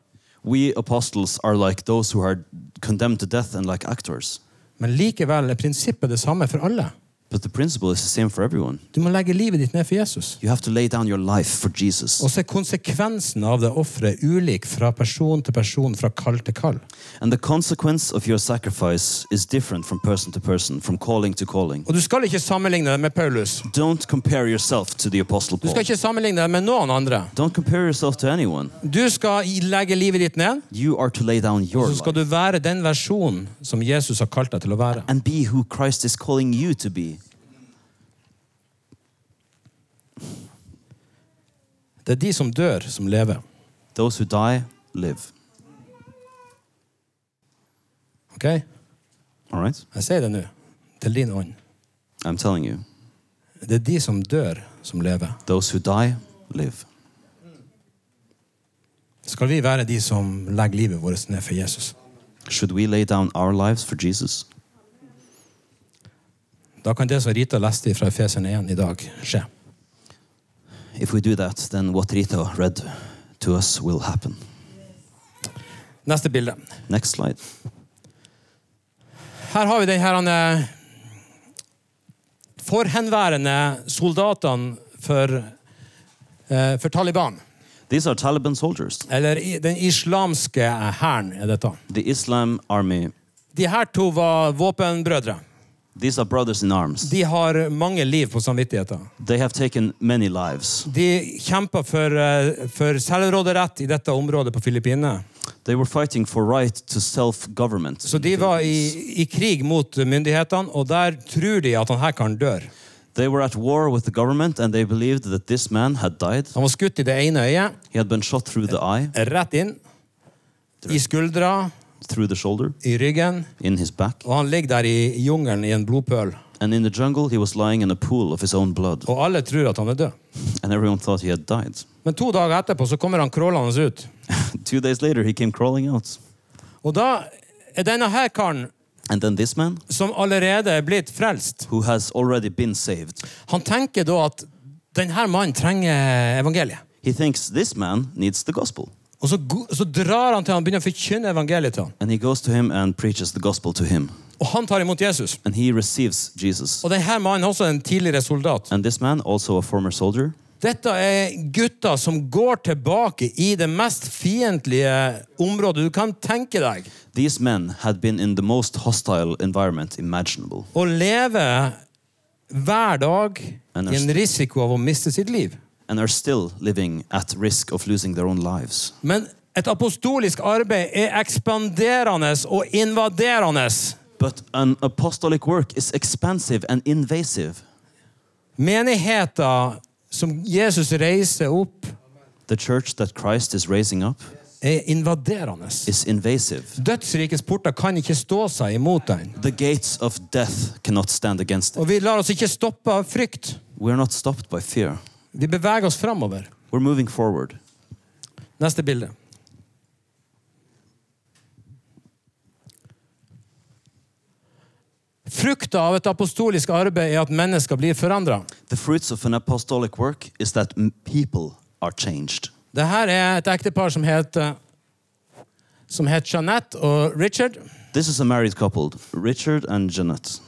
[SPEAKER 3] We apostles are like those who are condemned to death and like actors.
[SPEAKER 2] Men likevel er prinsippet det samme for alle.
[SPEAKER 3] But the principle is the same for everyone.
[SPEAKER 2] Du må legge livet ditt ned for Jesus.
[SPEAKER 3] You have to lay down your life for Jesus.
[SPEAKER 2] Og så er konsekvensen av det offeret ulik fra person til person, fra kall til kall.
[SPEAKER 3] And the consequence of your sacrifice is different from person to person, from calling to calling.
[SPEAKER 2] Og du skal ikke sammenligne det med Paulus.
[SPEAKER 3] Don't compare yourself to the Apostle
[SPEAKER 2] Du
[SPEAKER 3] Paul.
[SPEAKER 2] skal ikke sammenligne det med noen andre.
[SPEAKER 3] Don't compare yourself to anyone.
[SPEAKER 2] Du skal i- legge livet ditt ned,
[SPEAKER 3] You are to lay down your
[SPEAKER 2] så skal
[SPEAKER 3] life
[SPEAKER 2] du være den versjonen som Jesus har kalt deg til å være.
[SPEAKER 3] and be who Christ is calling you to be.
[SPEAKER 2] Det er de som dør, som lever.
[SPEAKER 3] Those who die live.
[SPEAKER 2] Ok? Jeg
[SPEAKER 3] All right?
[SPEAKER 2] sier det nå, til din ånd.
[SPEAKER 3] I'm telling you.
[SPEAKER 2] Det er de som dør, som lever.
[SPEAKER 3] Those who die live.
[SPEAKER 2] Skal vi være de som legger livet vårt ned for Jesus?
[SPEAKER 3] Should we lay down our lives for Jesus?
[SPEAKER 2] Da kan det som Rita leste fra Efeseren 1 i dag, skje.
[SPEAKER 3] If we do that, then what Rita read to us will happen.
[SPEAKER 2] Neste bilde.
[SPEAKER 3] Next slide.
[SPEAKER 2] Her har vi den her han, eh, forhenværende soldatene for, eh, for Taliban.
[SPEAKER 3] These are Taliban soldiers.
[SPEAKER 2] Eller i- den islamske hæren er dette.
[SPEAKER 3] The Islam Army.
[SPEAKER 2] De her to var våpenbrødre.
[SPEAKER 3] These are brothers in arms.
[SPEAKER 2] De har mange liv på samvittigheten.
[SPEAKER 3] They have taken many lives.
[SPEAKER 2] De kjempa for, eh, for selvråderett i dette området på Filippinene.
[SPEAKER 3] They were fighting for right to self-government.
[SPEAKER 2] Så de var i, i krig mot myndighetene, og der tror de at han her kan dø.
[SPEAKER 3] They were at war with the government and they believed that this man had died.
[SPEAKER 2] Han var skutt i det ene øyet,
[SPEAKER 3] He had been shot through the eye,
[SPEAKER 2] rett inn, i skuldra,
[SPEAKER 3] through the shoulder,
[SPEAKER 2] i ryggen,
[SPEAKER 3] in his back.
[SPEAKER 2] og han ligger der i jungelen i en blodpøl.
[SPEAKER 3] And in the jungle, he was lying in a pool of his own blood.
[SPEAKER 2] Og alle tror at han er død.
[SPEAKER 3] And everyone thought he had died.
[SPEAKER 2] Men to dager etterpå så kommer han krålende ut.
[SPEAKER 3] Two days later, he came crawling out.
[SPEAKER 2] Og da er denne her karen,
[SPEAKER 3] And then this man,
[SPEAKER 2] som allerede er blitt frelst,
[SPEAKER 3] who has already been saved,
[SPEAKER 2] han tenker da at denne mannen trenger evangeliet.
[SPEAKER 3] he thinks this man needs the gospel.
[SPEAKER 2] Og så, go- så drar han til han begynner å forkynne evangeliet til han.
[SPEAKER 3] And he goes to him and preaches the gospel to him.
[SPEAKER 2] Og han tar imot Jesus.
[SPEAKER 3] And he receives Jesus.
[SPEAKER 2] Og denne mannen er også en tidligere soldat.
[SPEAKER 3] And this man, also a former soldier,
[SPEAKER 2] Dette er gutter som går tilbake i det mest fiendtlige området du kan tenke deg,
[SPEAKER 3] these men had been in the most hostile environment imaginable.
[SPEAKER 2] og lever hver dag i en risiko av å miste sitt liv.
[SPEAKER 3] and are still living at risk of losing their own lives.
[SPEAKER 2] Men et apostolisk arbeid er ekspanderende og invaderende.
[SPEAKER 3] But an apostolic work is expansive and invasive.
[SPEAKER 2] Menigheter som Jesus reiser opp,
[SPEAKER 3] The church that Christ is raising up
[SPEAKER 2] er invaderende.
[SPEAKER 3] is invasive.
[SPEAKER 2] Dødsrikets porter kan ikke stå seg imot den.
[SPEAKER 3] The gates of death cannot stand against it.
[SPEAKER 2] Og vi lar oss ikke stoppe av frykt.
[SPEAKER 3] We're not stopped by fear.
[SPEAKER 2] Vi beveger oss framover.
[SPEAKER 3] We're moving forward.
[SPEAKER 2] Neste bilde. Frukta av et apostolisk arbeid er at mennesker blir forandra.
[SPEAKER 3] The fruits of an apostolic work is that m- people are changed.
[SPEAKER 2] Dette er et ektepar som heter som het Jeanette og Richard.
[SPEAKER 3] This is a married couple, Richard and Jeanette.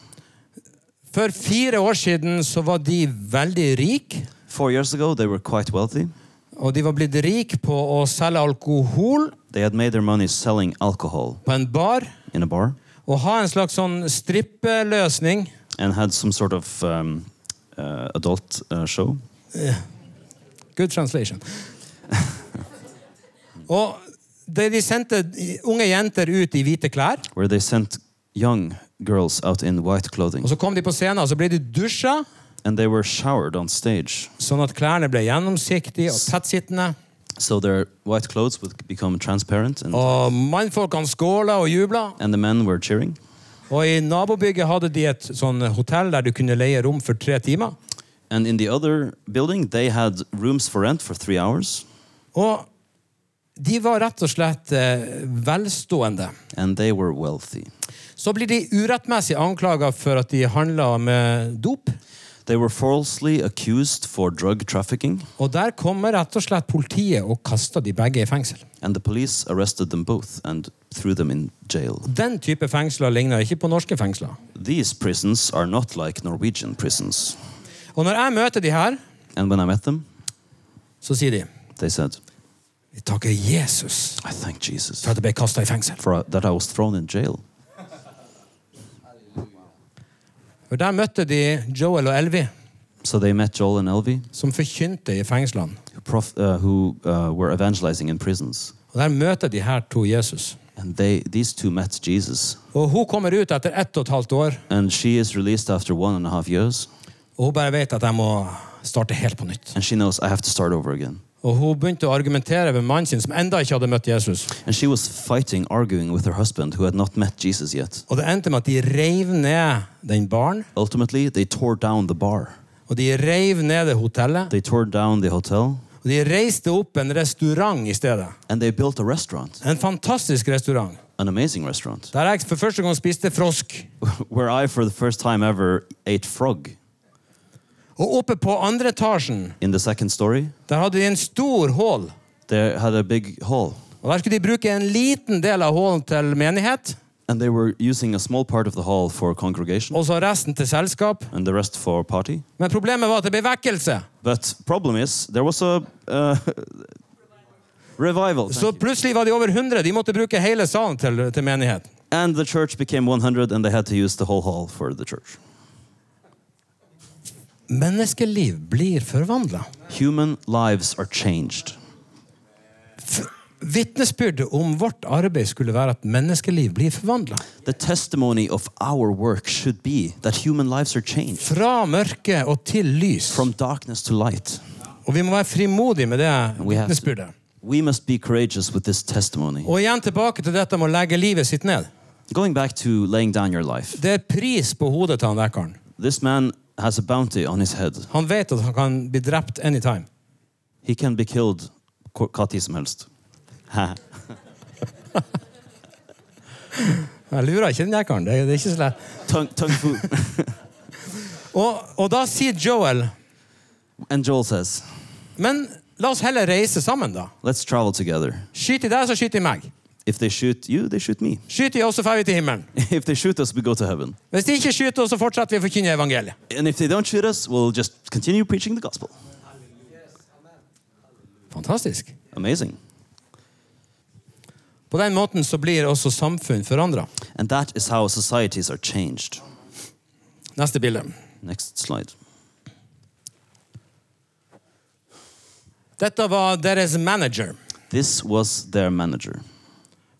[SPEAKER 2] For fire år siden så var de veldig rike.
[SPEAKER 3] Four years ago, they were quite wealthy.
[SPEAKER 2] Og de var blitt rike på å selge alkohol
[SPEAKER 3] They had made their money selling alcohol
[SPEAKER 2] på en bar.
[SPEAKER 3] in a bar.
[SPEAKER 2] Og ha en slags sånn strippeløsning.
[SPEAKER 3] and had some sort of um, uh, adult uh, show.
[SPEAKER 2] Good translation. og de, de sendte unge jenter ut i hvite klær.
[SPEAKER 3] where they sent young girls out in white clothing
[SPEAKER 2] Og så kom de på scenen, og så ble de dusja,
[SPEAKER 3] and they were showered on stage
[SPEAKER 2] sånn at klærne ble gjennomsiktige og tettsittende.
[SPEAKER 3] so their white clothes would become transparent and,
[SPEAKER 2] Og mannfolkene skåla og jubla.
[SPEAKER 3] and the men were cheering
[SPEAKER 2] Og i nabobygget hadde de et sånn hotell der du kunne leie rom for tre timer.
[SPEAKER 3] and in the other building they had rooms for rent for three hours
[SPEAKER 2] Og de var rett og slett eh, velstående.
[SPEAKER 3] and they were wealthy
[SPEAKER 2] Så blir de urettmessig anklaga for at de handla med dop.
[SPEAKER 3] they were falsely accused for drug trafficking
[SPEAKER 2] Og der kommer rett og slett politiet og kaster de begge i fengsel.
[SPEAKER 3] and the police arrested them both and threw them in jail
[SPEAKER 2] Den type fengsler ligner ikke på norske fengsler.
[SPEAKER 3] these prisons are not like norwegian prisons
[SPEAKER 2] Og når jeg møter de her,
[SPEAKER 3] and when i met them
[SPEAKER 2] så sier de
[SPEAKER 3] they said
[SPEAKER 2] Vi takker Jesus
[SPEAKER 3] I thank Jesus
[SPEAKER 2] for at jeg ble kasta i fengsel.
[SPEAKER 3] for uh, that I was thrown in jail.
[SPEAKER 2] For der møtte de Joel og Elvi,
[SPEAKER 3] So they met Joel and Elvi,
[SPEAKER 2] som forkynte i fengslene.
[SPEAKER 3] who, prof- uh, who uh, were evangelizing in prisons,
[SPEAKER 2] Og der møter de her to Jesus.
[SPEAKER 3] and they these two met Jesus.
[SPEAKER 2] Og hun kommer ut etter ett og et halvt år,
[SPEAKER 3] And she is released after one and a half years,
[SPEAKER 2] og hun bare vet at jeg må starte helt på nytt.
[SPEAKER 3] and she knows I have to start over again.
[SPEAKER 2] Og hun begynte å argumentere med mannen sin, som enda ikke hadde møtt Jesus.
[SPEAKER 3] And she was fighting, arguing with her husband, who had not met Jesus yet.
[SPEAKER 2] Og det endte med at de reiv ned den baren,
[SPEAKER 3] Ultimately, they tore down the bar,
[SPEAKER 2] og de reiv ned det hotellet.
[SPEAKER 3] they tore down the hotel,
[SPEAKER 2] Og de reiste opp en restaurant i stedet.
[SPEAKER 3] and they built a restaurant,
[SPEAKER 2] En fantastisk restaurant.
[SPEAKER 3] an amazing restaurant,
[SPEAKER 2] Der jeg for første gang spiste frosk.
[SPEAKER 3] where I, for the first time ever, ate frog
[SPEAKER 2] Og oppe på andre etasjen
[SPEAKER 3] in the second story.
[SPEAKER 2] der hadde de en stor hall.
[SPEAKER 3] They had a big hall,
[SPEAKER 2] Og Der skulle de bruke en liten del av hallen til menighet,
[SPEAKER 3] and they were using a small part of the hall for congregation
[SPEAKER 2] og så resten til selskap.
[SPEAKER 3] and the rest for party.
[SPEAKER 2] Men problemet var at det ble vekkelse.
[SPEAKER 3] But problem is, there was a uh, revival, thank
[SPEAKER 2] Så
[SPEAKER 3] you.
[SPEAKER 2] plutselig var de over 100. De måtte bruke hele salen til, til menighet.
[SPEAKER 3] and the church became 100, and they had to use the whole hall for the church.
[SPEAKER 2] Menneskeliv blir forvandla.
[SPEAKER 3] Human lives are changed.
[SPEAKER 2] Vitnesbyrdet om vårt arbeid skulle være at menneskeliv blir forvandla.
[SPEAKER 3] The testimony of our work should be that human lives are changed
[SPEAKER 2] Fra mørke og til lys.
[SPEAKER 3] from darkness to light.
[SPEAKER 2] Og vi må være frimodige med det
[SPEAKER 3] We have
[SPEAKER 2] vitnesbyrdet.
[SPEAKER 3] We must be courageous with this testimony.
[SPEAKER 2] Og igjen tilbake til dette med å legge livet sitt ned.
[SPEAKER 3] Going back to laying down your life,
[SPEAKER 2] Det er pris på hodet til han vekkeren.
[SPEAKER 3] this man has a bounty on his head.
[SPEAKER 2] Han vet at han kan bli drept anytime.
[SPEAKER 3] He can be killed ko- hva tid som helst. Haha.
[SPEAKER 2] Jeg lurer ikke den vekkeren. Det, det er ikke så lett.
[SPEAKER 3] tung, tung fu.
[SPEAKER 2] Og, og da sier Joel
[SPEAKER 3] and Joel says,
[SPEAKER 2] Men la oss heller reise sammen, da.
[SPEAKER 3] Let's travel together.
[SPEAKER 2] Skyter de deg, så skyter de meg.
[SPEAKER 3] If they shoot you, they shoot me.
[SPEAKER 2] Skyter jeg oss, så drar vi til himmelen.
[SPEAKER 3] If they shoot us, we go to heaven.
[SPEAKER 2] Hvis de ikke skyter oss, så fortsetter vi å forkynne evangeliet.
[SPEAKER 3] And if they don't shoot us, we'll just continue preaching the gospel.
[SPEAKER 2] Fantastisk.
[SPEAKER 3] Amazing.
[SPEAKER 2] På den måten så blir også samfunn forandra.
[SPEAKER 3] And that is how societies are changed.
[SPEAKER 2] Neste bilde.
[SPEAKER 3] Next slide.
[SPEAKER 2] Dette var deres manager.
[SPEAKER 3] This was their manager.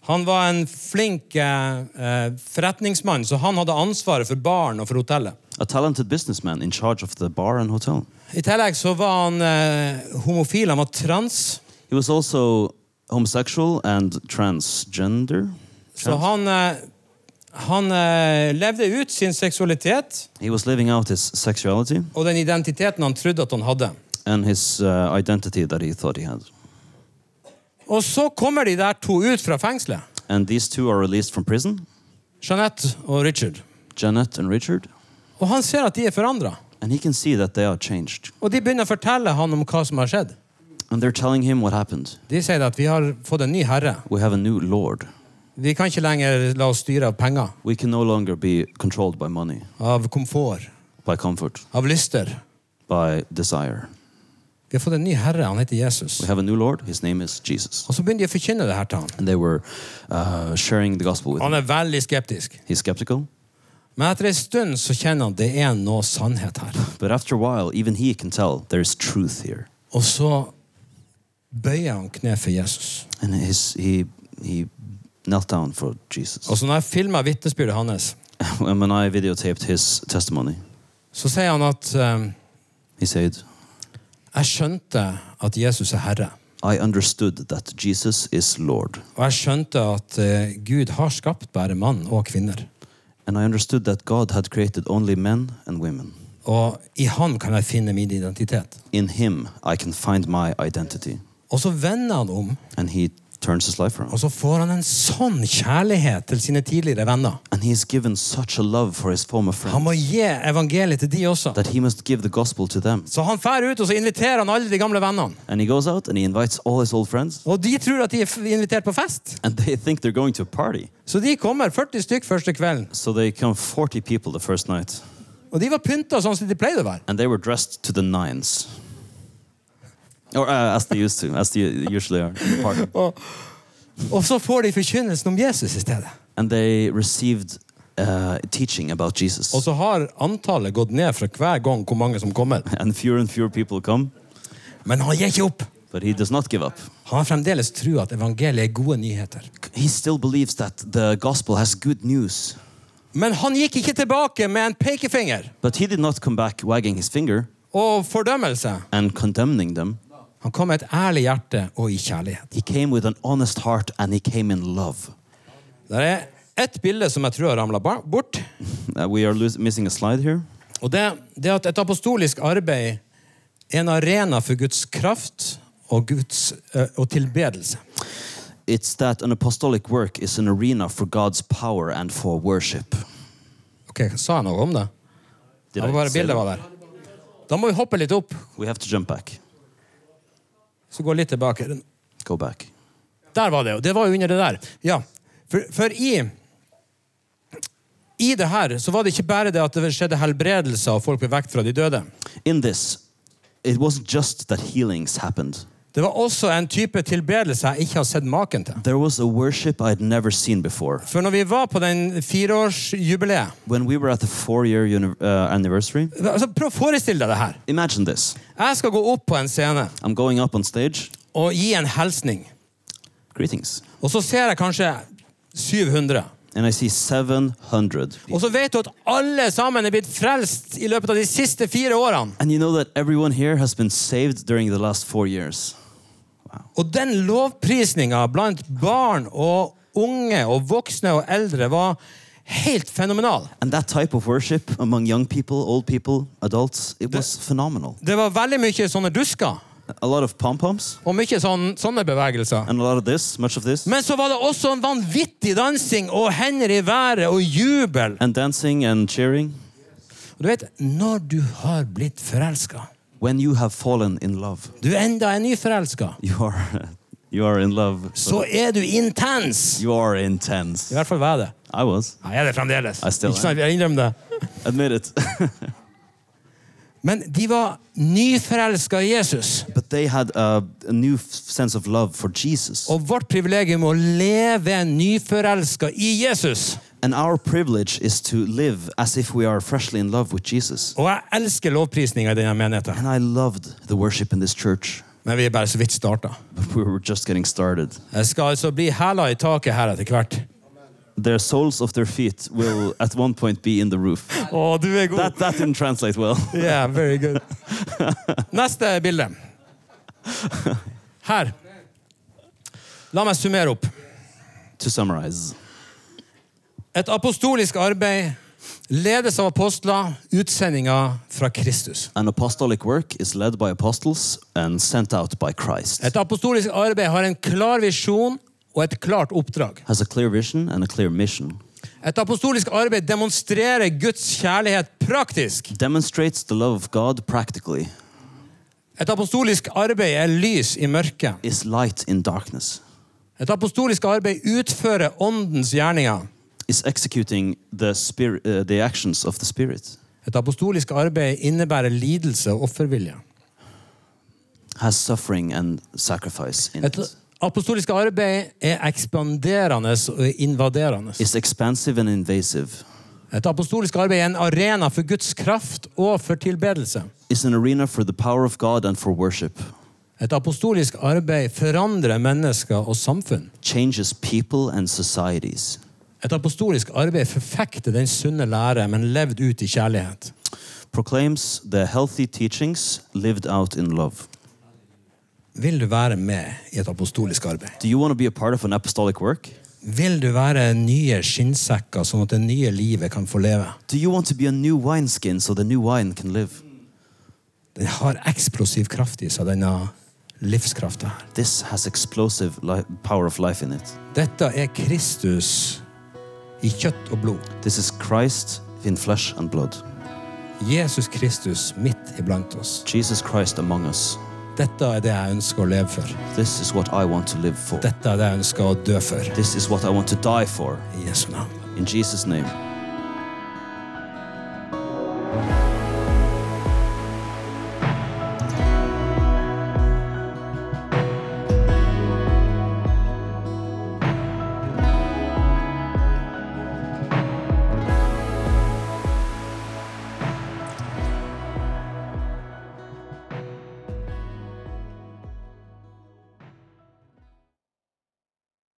[SPEAKER 2] Han var en flink eh, eh, forretningsmann, så han hadde ansvaret for baren og for hotellet.
[SPEAKER 3] A talented businessman in charge of the bar and hotel.
[SPEAKER 2] I tillegg så var han eh, homofil. Han var trans.
[SPEAKER 3] He was also homosexual and transgender.
[SPEAKER 2] Så han, eh, han eh, levde ut sin seksualitet
[SPEAKER 3] He was living out his sexuality
[SPEAKER 2] og den identiteten han trodde at han hadde.
[SPEAKER 3] and his uh, identity that he thought he had.
[SPEAKER 2] Og så kommer de der to ut fra fengselet.
[SPEAKER 3] And these two are released from prison,
[SPEAKER 2] Jeanette og Richard.
[SPEAKER 3] Janet and Richard,
[SPEAKER 2] Og han ser at de er forandra.
[SPEAKER 3] and he can see that they are changed.
[SPEAKER 2] Og de begynner å fortelle han om hva som har skjedd.
[SPEAKER 3] And they're telling him what happened.
[SPEAKER 2] De sier at vi har fått en ny herre.
[SPEAKER 3] We have a new lord.
[SPEAKER 2] Vi kan ikke lenger la oss styre av penger,
[SPEAKER 3] We can no longer be controlled by money,
[SPEAKER 2] av komfort,
[SPEAKER 3] by comfort,
[SPEAKER 2] av lyster.
[SPEAKER 3] by desire.
[SPEAKER 2] Vi har fått en ny herre. Han heter Jesus.
[SPEAKER 3] We have a new lord. His name is Jesus.
[SPEAKER 2] Og så begynner de å forkynne det her til han.
[SPEAKER 3] And they were uh, sharing the gospel with him.
[SPEAKER 2] Han er veldig skeptisk.
[SPEAKER 3] He's skeptical,
[SPEAKER 2] Men etter en stund så kjenner han det er noe sannhet her.
[SPEAKER 3] but after a while, even he can tell there's truth here.
[SPEAKER 2] Og så bøyer han kne for Jesus.
[SPEAKER 3] And his, he, he knelt down for Jesus.
[SPEAKER 2] Og så når jeg filmer vitnesbyrdet hans,
[SPEAKER 3] And when I videotaped his testimony,
[SPEAKER 2] så sier han at eh,
[SPEAKER 3] he said,
[SPEAKER 2] jeg skjønte at Jesus er Herre.
[SPEAKER 3] I understood that Jesus is Lord.
[SPEAKER 2] Og jeg skjønte at eh, Gud har skapt bare mann og kvinner.
[SPEAKER 3] And I understood that God had created only men and women.
[SPEAKER 2] Og i han kan jeg finne min identitet.
[SPEAKER 3] In him, I can find my identity.
[SPEAKER 2] Og så vender han om,
[SPEAKER 3] And he turns his life
[SPEAKER 2] og
[SPEAKER 3] around.
[SPEAKER 2] så får han en sånn kjærlighet til sine tidligere venner.
[SPEAKER 3] And he's given such a love for his former
[SPEAKER 2] Han må
[SPEAKER 3] friends
[SPEAKER 2] gi evangeliet til de også.
[SPEAKER 3] that he must give the gospel to them.
[SPEAKER 2] Så han fær ut, og så inviterer han alle de gamle vennene.
[SPEAKER 3] And he goes out and he invites all his old friends.
[SPEAKER 2] Og de tror at de er f- invitert på fest.
[SPEAKER 3] And they think they're going to a party.
[SPEAKER 2] Så de kommer, 40 stykk første kvelden.
[SPEAKER 3] So they come 40 people the first night.
[SPEAKER 2] Og de var pynta sånn som de pleide å være.
[SPEAKER 3] And they were dressed to the nines. Or uh, as they used to, as they usually are in the party.
[SPEAKER 2] Og så får de forkynnelsen om Jesus i stedet.
[SPEAKER 3] and they received uh, teaching about Jesus.
[SPEAKER 2] Og så har antallet gått ned fra hver gang hvor mange som kommer.
[SPEAKER 3] And fewer and fewer people come,
[SPEAKER 2] Men han gir ikke opp.
[SPEAKER 3] but he does not give up.
[SPEAKER 2] Han har fremdeles trua at evangeliet er gode nyheter.
[SPEAKER 3] He still believes that the gospel has good news,
[SPEAKER 2] Men han gikk ikke tilbake med en pekefinger
[SPEAKER 3] but he did not come back wagging his finger
[SPEAKER 2] og fordømmelse.
[SPEAKER 3] and condemning them.
[SPEAKER 2] Han kom med et ærlig hjerte og i kjærlighet.
[SPEAKER 3] He came with an honest heart and he came in love.
[SPEAKER 2] Det er ett bilde som jeg tror har ramla bort.
[SPEAKER 3] Uh, we are los- missing a slide here.
[SPEAKER 2] Og det, det at et apostolisk arbeid er en arena for Guds kraft og, Guds, eh, og tilbedelse.
[SPEAKER 3] It's that an apostolic work is an arena for God's power and for worship.
[SPEAKER 2] Ok, Sa jeg noe om det? Det
[SPEAKER 3] Did
[SPEAKER 2] var
[SPEAKER 3] I
[SPEAKER 2] bare
[SPEAKER 3] say
[SPEAKER 2] bildet
[SPEAKER 3] that?
[SPEAKER 2] var der. Da må vi hoppe litt opp,
[SPEAKER 3] We have to jump back.
[SPEAKER 2] så gå litt tilbake.
[SPEAKER 3] Go back.
[SPEAKER 2] Der var det, og det var jo under det der. Ja, For, for i i det her så var det ikke bare det at det skjedde helbredelser og folk ble vekt fra de døde.
[SPEAKER 3] In this, it wasn't just that healings happened.
[SPEAKER 2] Det var også en type tilbedelse jeg ikke har sett maken til.
[SPEAKER 3] There was a worship I'd never seen before.
[SPEAKER 2] For når vi var på den fireårsjubileet
[SPEAKER 3] When we were at the four-year uni- uh, anniversary,
[SPEAKER 2] altså, Prøv å forestille deg det her.
[SPEAKER 3] imagine this.
[SPEAKER 2] Jeg skal gå opp på en scene
[SPEAKER 3] I'm going up on stage.
[SPEAKER 2] og gi en hilsning.
[SPEAKER 3] Greetings.
[SPEAKER 2] Og så ser jeg kanskje 700.
[SPEAKER 3] And I see 700 people.
[SPEAKER 2] Og så vet du at alle sammen er blitt frelst i løpet av de siste fire årene.
[SPEAKER 3] And you know that everyone here has been saved during the last four years.
[SPEAKER 2] Og den lovprisninga blant barn og unge og voksne og eldre var helt fenomenal.
[SPEAKER 3] And that type of worship among young people, old people, adults, it was phenomenal.
[SPEAKER 2] Det var veldig mye sånne dusker
[SPEAKER 3] A lot of pom poms
[SPEAKER 2] og mye sånn, sånne bevegelser.
[SPEAKER 3] and a lot of this, much of this,
[SPEAKER 2] Men så var det også en vanvittig dansing og hender i været og jubel.
[SPEAKER 3] and dancing and cheering.
[SPEAKER 2] Og du vet, når du har blitt forelska
[SPEAKER 3] When you have fallen in love,
[SPEAKER 2] Du enda er nyforelska.
[SPEAKER 3] you are you are in love.
[SPEAKER 2] Så er du intens!
[SPEAKER 3] you are intense.
[SPEAKER 2] I hvert fall var jeg det.
[SPEAKER 3] I was.
[SPEAKER 2] Jeg er det fremdeles.
[SPEAKER 3] Jeg stiller.
[SPEAKER 2] Ikke sant, jeg innrømmer det.
[SPEAKER 3] Admit it.
[SPEAKER 2] Men de var nyforelska i Jesus.
[SPEAKER 3] but they had a, a new f- sense of love for Jesus.
[SPEAKER 2] Og vårt privilegium er å leve nyforelska i Jesus.
[SPEAKER 3] And our privilege is to live as if we are freshly in love with Jesus.
[SPEAKER 2] Og jeg elsker lovprisninga i denne menigheten.
[SPEAKER 3] And I loved the worship in this church,
[SPEAKER 2] Men vi er bare så vidt starta.
[SPEAKER 3] but we were just getting started.
[SPEAKER 2] Jeg skal altså bli hæla i taket her etter hvert.
[SPEAKER 3] Their soles of their feet will at one point be in the roof.
[SPEAKER 2] Å, du er god!
[SPEAKER 3] That, that didn't translate well.
[SPEAKER 2] Yeah, very good. Neste bilde. Her. La meg summere opp.
[SPEAKER 3] to summarize,
[SPEAKER 2] Et apostolisk arbeid ledes av apostler, utsendinger fra Kristus.
[SPEAKER 3] an apostolic work is led by apostles and sent out by Christ,
[SPEAKER 2] Et apostolisk arbeid har en klar visjon og et klart oppdrag.
[SPEAKER 3] has a clear vision and a clear mission,
[SPEAKER 2] Et apostolisk arbeid demonstrerer Guds kjærlighet praktisk.
[SPEAKER 3] demonstrates the love of God practically,
[SPEAKER 2] Et apostolisk arbeid er lys i mørket.
[SPEAKER 3] is light in darkness,
[SPEAKER 2] Et apostolisk arbeid utfører åndens gjerninger.
[SPEAKER 3] is executing the, spirit, uh, the actions of the Spirit,
[SPEAKER 2] Et apostolisk arbeid innebærer lidelse og offervilje.
[SPEAKER 3] has suffering and sacrifice in
[SPEAKER 2] Et
[SPEAKER 3] it,
[SPEAKER 2] apostolisk arbeid er ekspanderende og invaderende.
[SPEAKER 3] is expansive and invasive,
[SPEAKER 2] Et apostolisk arbeid er en arena for Guds kraft og for tilbedelse.
[SPEAKER 3] is an arena for the power of God and for worship,
[SPEAKER 2] Et apostolisk arbeid forandrer mennesker og samfunn.
[SPEAKER 3] changes people and societies.
[SPEAKER 2] Et apostolisk arbeid forfekter den sunne lære, men levd ut i kjærlighet.
[SPEAKER 3] Proclaims the healthy teachings lived out in love.
[SPEAKER 2] Vil du være med i et apostolisk arbeid?
[SPEAKER 3] Do you want to be a part of an apostolic work?
[SPEAKER 2] Vil du være nye skinnsekker, sånn at det nye livet kan få leve?
[SPEAKER 3] Do you want to be a new wineskin so the new wine can live?
[SPEAKER 2] Den har eksplosiv kraft i seg, denne livskrafta her.
[SPEAKER 3] This has explosive li- power of life in it.
[SPEAKER 2] Dette er Kristus i kjøtt og blod.
[SPEAKER 3] This is Christ in flesh and blood.
[SPEAKER 2] Jesus Kristus midt iblant oss.
[SPEAKER 3] Jesus Christ among us.
[SPEAKER 2] Dette er det jeg ønsker å leve for.
[SPEAKER 3] This is what I want to live for.
[SPEAKER 2] Dette er det jeg ønsker å dø for.
[SPEAKER 3] This is what I want to die for.
[SPEAKER 2] I Jesu navn.
[SPEAKER 3] In Jesus' name.